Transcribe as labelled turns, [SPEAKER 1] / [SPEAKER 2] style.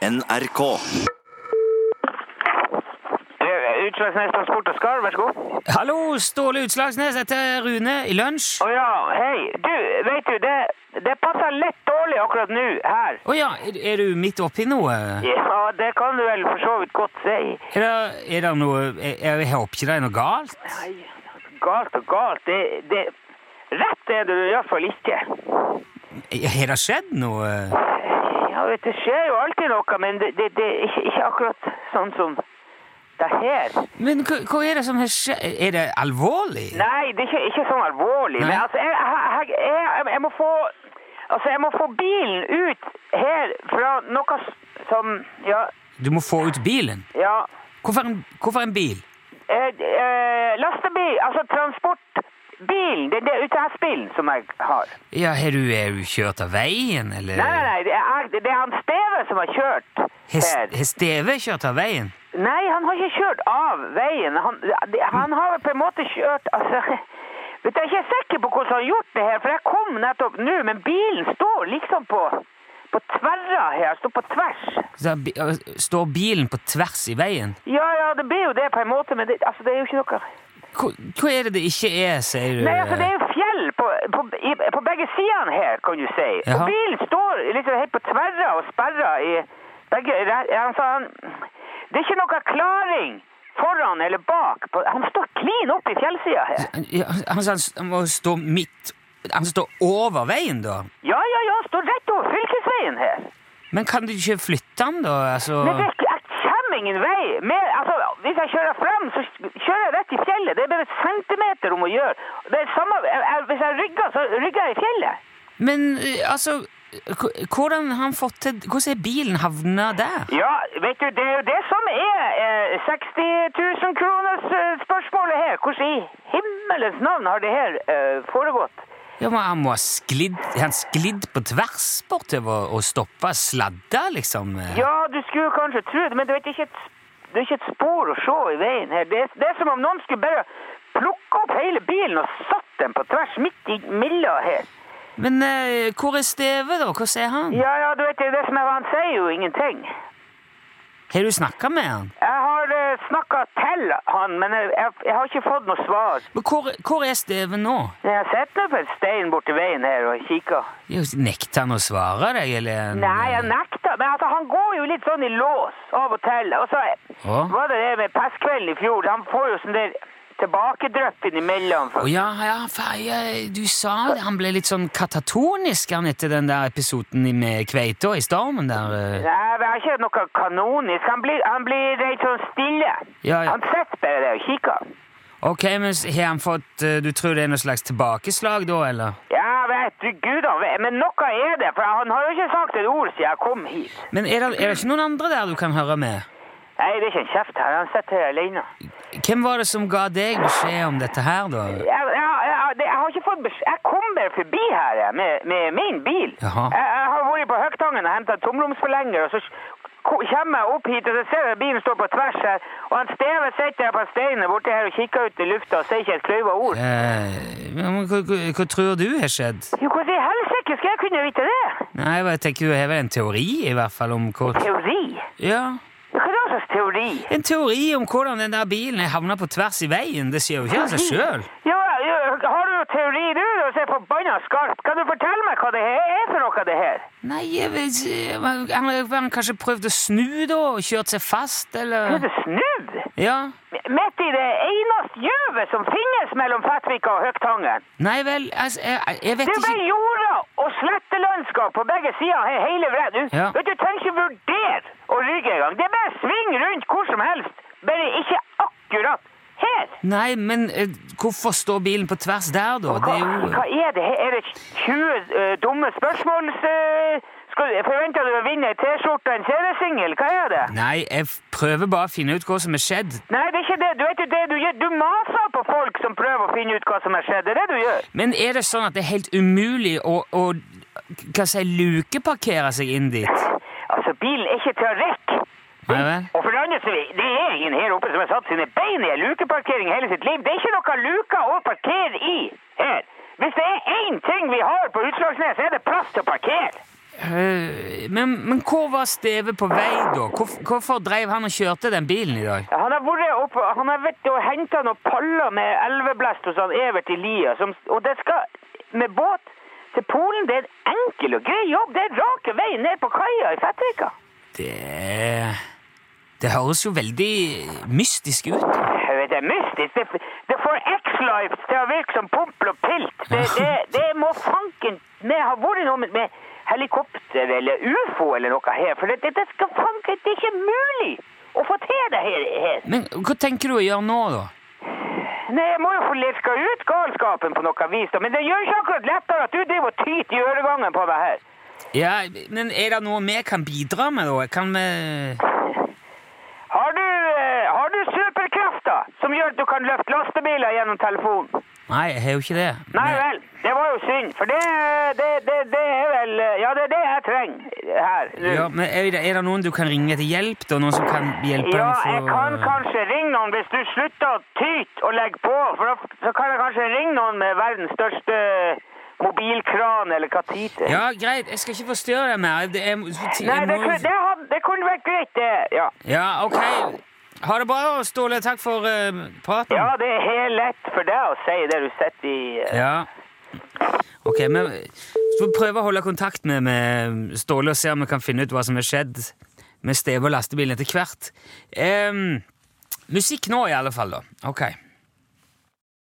[SPEAKER 1] NRK.
[SPEAKER 2] Utslagsnes Transport og Skar, vær så god.
[SPEAKER 3] Hallo, Ståle Utslagsnes heter Rune i lunsj.
[SPEAKER 2] Å ja, hei. Du, vet du, det, det passer lett dårlig akkurat nå her.
[SPEAKER 3] Å ja, er, er du midt oppi noe? Er
[SPEAKER 2] Ja, det kan du vel for så vidt godt si.
[SPEAKER 3] det, er det noe jeg, jeg håper ikke det er noe galt?
[SPEAKER 2] Nei, galt og galt. Det, det, rett er det i hvert fall ikke.
[SPEAKER 3] Har det skjedd noe?
[SPEAKER 2] Ja, vet du, det skjer jo alltid noe, men det, det, det er ikke, ikke akkurat sånn som det her.
[SPEAKER 3] Men hva, hva er det som har skjedd? Er det alvorlig?
[SPEAKER 2] Nei, det er ikke, ikke sånn alvorlig. Men
[SPEAKER 3] Nei.
[SPEAKER 2] altså, jeg, jeg, jeg, jeg, jeg må få Altså, jeg må få bilen ut her fra noe s- som Ja.
[SPEAKER 3] Du må få ut bilen.
[SPEAKER 2] ja
[SPEAKER 3] Hvorfor en, hvorfor en bil?
[SPEAKER 2] eh, eh, lastebil, altså transportbilen. Det, det er UTS-bilen som jeg har.
[SPEAKER 3] Ja, har du, er du kjørt av veien, eller?
[SPEAKER 2] Nei, nei, nei, det er, jeg- det er han Steve som har kjørt
[SPEAKER 3] Har
[SPEAKER 2] her.
[SPEAKER 3] har Steve kjørt av veien?
[SPEAKER 2] Nei, han har ikke kjørt av veien. Han, det- han har på en måte kjørt altså, vet du, Jeg er ikke sikker på hvordan han har gjort det her, for jeg kom nettopp nå, men bilen står liksom på, på tverra her. Står på tvers.
[SPEAKER 3] Så bi- Står bilen på tvers i veien?
[SPEAKER 2] Ja, ja, det blir jo det på en måte, men det, altså, det er jo ikke noe
[SPEAKER 3] Hva, hva er det det ikke er, sier du?
[SPEAKER 2] Nei, altså, det er jo fjell på, på, i, på begge sidene her, kan du si.
[SPEAKER 3] Jaha.
[SPEAKER 2] Og bilen står liksom helt på tverra og sperra i begge re- altså, han, Det er ikke noe klaring foran eller bak. På, han står klin opp i fjellsida her.
[SPEAKER 3] Han, ja, han, han, han må stå midt Han står over veien, da?
[SPEAKER 2] Ja, ja, ja, står rett over fylkesveien her.
[SPEAKER 3] Men kan du ikke flytte han, da? Altså,
[SPEAKER 2] Men det, jeg kommer ingen vei. Mer, altså, hvis jeg kjører frem, så kjører jeg rett i fjellet. Det er bare centimeter om å gjøre. Det er samme, jeg, jeg, hvis jeg rygger, så rygger jeg i fjellet.
[SPEAKER 3] Men eh, altså h- Hvordan har han fått til Hvordan er bilen havna der?
[SPEAKER 2] Ja, vet du, det er jo det som er eh, 60 000 kroners eh, spørsmålet her. Hvordan i himmelens navn har det her eh, foregått?
[SPEAKER 3] Ja, men Han må ha sklidd Han sklidd på tvers bortover og stoppa sladda, liksom? eh.
[SPEAKER 2] Ja, du skulle kanskje tro det, men du vet det er ikke et, det er ikke et spor å se i veien her. Det er, det er som om noen skulle bare plukke opp hele bilen og satt den på tvers midt i milla her.
[SPEAKER 3] Men eh, hvor er Steve, da? Hvor er han?
[SPEAKER 2] Ja, ja, du vet det, er det som er, han sier jo ingenting.
[SPEAKER 3] Har du snakka med han?
[SPEAKER 2] Jeg har uh, snakka til han, men jeg, jeg, jeg har ikke fått noe svar.
[SPEAKER 3] Men hvor, hvor er Steve nå?
[SPEAKER 2] Jeg sitter nå på en stein borti veien her og kikker.
[SPEAKER 3] Ja, Nekter han å svare deg, eller? er han-
[SPEAKER 2] Nei, jeg nekter. Men altså, han går jo litt sånn i lås av og til. Og så
[SPEAKER 3] Ja.
[SPEAKER 2] var det det med pestkvelden i fjor. Han får jo sånn der tilbakedrøpp innimellom.
[SPEAKER 3] Å ja, ja, faen, ja, du sa det. Han ble litt sånn katatonisk han etter den der episoden i- med kveita i stormen der. eh.
[SPEAKER 2] Nei, det er ikke noe kanonisk. Han blir, han blir helt sånn stille.
[SPEAKER 3] Ja, ja.
[SPEAKER 2] Han sitter bare der og kikker.
[SPEAKER 3] Ok, men s- har han fått eh, Du tror det er noe slags tilbakeslag da, eller?
[SPEAKER 2] Ja, vet du, gud, han vet. men noe er det, for han har jo ikke sagt et ord siden jeg kom hit.
[SPEAKER 3] Men er det, er det ikke noen andre der du kan høre med?
[SPEAKER 2] Nei, det er ikke en kjeft her. Han sitter her alene.
[SPEAKER 3] Hvem var det som ga deg beskjed om dette her, da?
[SPEAKER 2] Jeg, jeg, jeg, det- jeg har ikke fått beskjed. Jeg kom bare forbi her jeg, med, med min bil.
[SPEAKER 3] Jaha.
[SPEAKER 2] Jeg, jeg har vært på Høgtangen og henta tomromsforlenger, og så ko- kommer jeg opp hit, og så ser jeg bilen står på tvers her, og han Steve sitter her på steinen borti her og kikker ut i lufta og sier ikke et kløyva ord.
[SPEAKER 3] Eh, ja, men hva, hva, hva tror du har skjedd?
[SPEAKER 2] Jo, hvordan i helsike skal jeg kunne vite det?
[SPEAKER 3] Nei, jeg bare tenker du har vel en teori, i hvert fall, om hvor
[SPEAKER 2] Teori?
[SPEAKER 3] Ja.
[SPEAKER 2] Hva er det slags teori?
[SPEAKER 3] En teori om hvordan den der bilen havna på tvers i veien. Det skjer jo ikke av seg sjøl.
[SPEAKER 2] Ja, ja, har du noe teori du? Og så er forbanna skarp. Kan du fortelle meg hva det her er for noe, det her?
[SPEAKER 3] Nei, jeg vet ikke. Han han har kanskje prøvd å snu, da, og kjørt seg fast,
[SPEAKER 2] Er
[SPEAKER 3] eller
[SPEAKER 2] det snudd?
[SPEAKER 3] Ja.
[SPEAKER 2] Midt i det eneste gjøvet som finnes mellom Fettvika og Høgtangen.
[SPEAKER 3] Nei vel, altså, jeg, jeg vet
[SPEAKER 2] Det er
[SPEAKER 3] ikke
[SPEAKER 2] bare jorda og slettelandskap på begge sider her hele veien. Du,
[SPEAKER 3] Ja.
[SPEAKER 2] vet du trenger ikke vurdere å rygge engang. Det er bare sving rundt hvor som helst. Bare ikke akkurat her.
[SPEAKER 3] Nei, men eh, hvorfor står bilen på tvers der, da? Det
[SPEAKER 2] Hva,
[SPEAKER 3] er jo
[SPEAKER 2] hva er det her? Er det 20 eh, dumme spørsmål? eh, skal, forventer du å vinne ei T-skjorte og en seriesingel? Hva er det?
[SPEAKER 3] Nei, jeg f- prøver bare å finne ut hva som har skjedd.
[SPEAKER 2] Nei, det er ikke det. Du vet jo det du gjør. Du maser på folk som prøver å finne ut hva som har skjedd. Det er det du gjør.
[SPEAKER 3] Men er det sånn at det er helt umulig å, å hva skal jeg si, lukeparkere seg inn dit?
[SPEAKER 2] Altså, bilen er ikke til å rekke.
[SPEAKER 3] Nei vel?
[SPEAKER 2] Og for det andre, så det er ingen her oppe som har satt sine bein i en lukeparkering hele sitt liv. Det er ikke noe luka å parkere i her. Hvis det er én ting vi har på Utslagsnes, er det plass til å parkere.
[SPEAKER 3] Eh, Men, men hvor var Steve på vei, da? Hvorf, hvorfor dreiv han og kjørte den bilen i dag?
[SPEAKER 2] Han har vært opp, han har vært og henta noen paller med sånn elveblest hos han Evert Elia. Som, og det skal med båt til Polen. Det er en enkel og grei jobb. Det er rake veien ned på kaia i Fettvika.
[SPEAKER 3] Det Det høres jo veldig mystisk ut. da.
[SPEAKER 2] Jeg vet, Det er mystisk. Det, det får X-Life til å virke som pompel og pilt. Det, det, det må fanken med ha vært noe med, med helikopter eller ufo eller noe her. For det, det, det skal fanken Det er ikke mulig å få til det her. her.
[SPEAKER 3] Men hva tenker du å gjøre nå, da?
[SPEAKER 2] Nei, jeg må jo få lirka ut galskapen på noe vis, da. Men det gjør ikke akkurat lettere at du driver og tyter i øregangen på meg her.
[SPEAKER 3] Ja, men Er det noe vi kan bidra med, da? Kan vi
[SPEAKER 2] Har du, eh, har du superkrefter som gjør at du kan løfte lastebiler gjennom telefonen?
[SPEAKER 3] Nei, jeg har jo ikke det.
[SPEAKER 2] Nei
[SPEAKER 3] Men-
[SPEAKER 2] vel, det var jo synd, for det, det, det, det er vel Ja, det er det jeg trenger her. nå.
[SPEAKER 3] Ja, men er det, er det noen du kan ringe til hjelp, da? Noen som kan hjelpe
[SPEAKER 2] Ja,
[SPEAKER 3] deg for
[SPEAKER 2] jeg kan kanskje ringe noen hvis du slutter å tyte og legge på. For da så kan jeg kanskje ringe noen med verdens største mobilkran eller katite.
[SPEAKER 3] Ja, greit. Jeg skal ikke forstyrre deg mer. Det er, jeg
[SPEAKER 2] Nei, det,
[SPEAKER 3] må-
[SPEAKER 2] kunne- det, hadde, det kunne vært greit, det. Ja.
[SPEAKER 3] Ja, ok. Ha det bra, Ståle. Takk for eh, praten.
[SPEAKER 2] ja, det er helt lett for deg å si det du sitter i eh,
[SPEAKER 3] Ja. Ok, men så vi prøver å holde kontakt med, med Ståle og se om vi kan finne ut hva som har skjedd med Steve og lastebilen etter hvert. Ehm, musikk nå, i alle fall. da. Ok.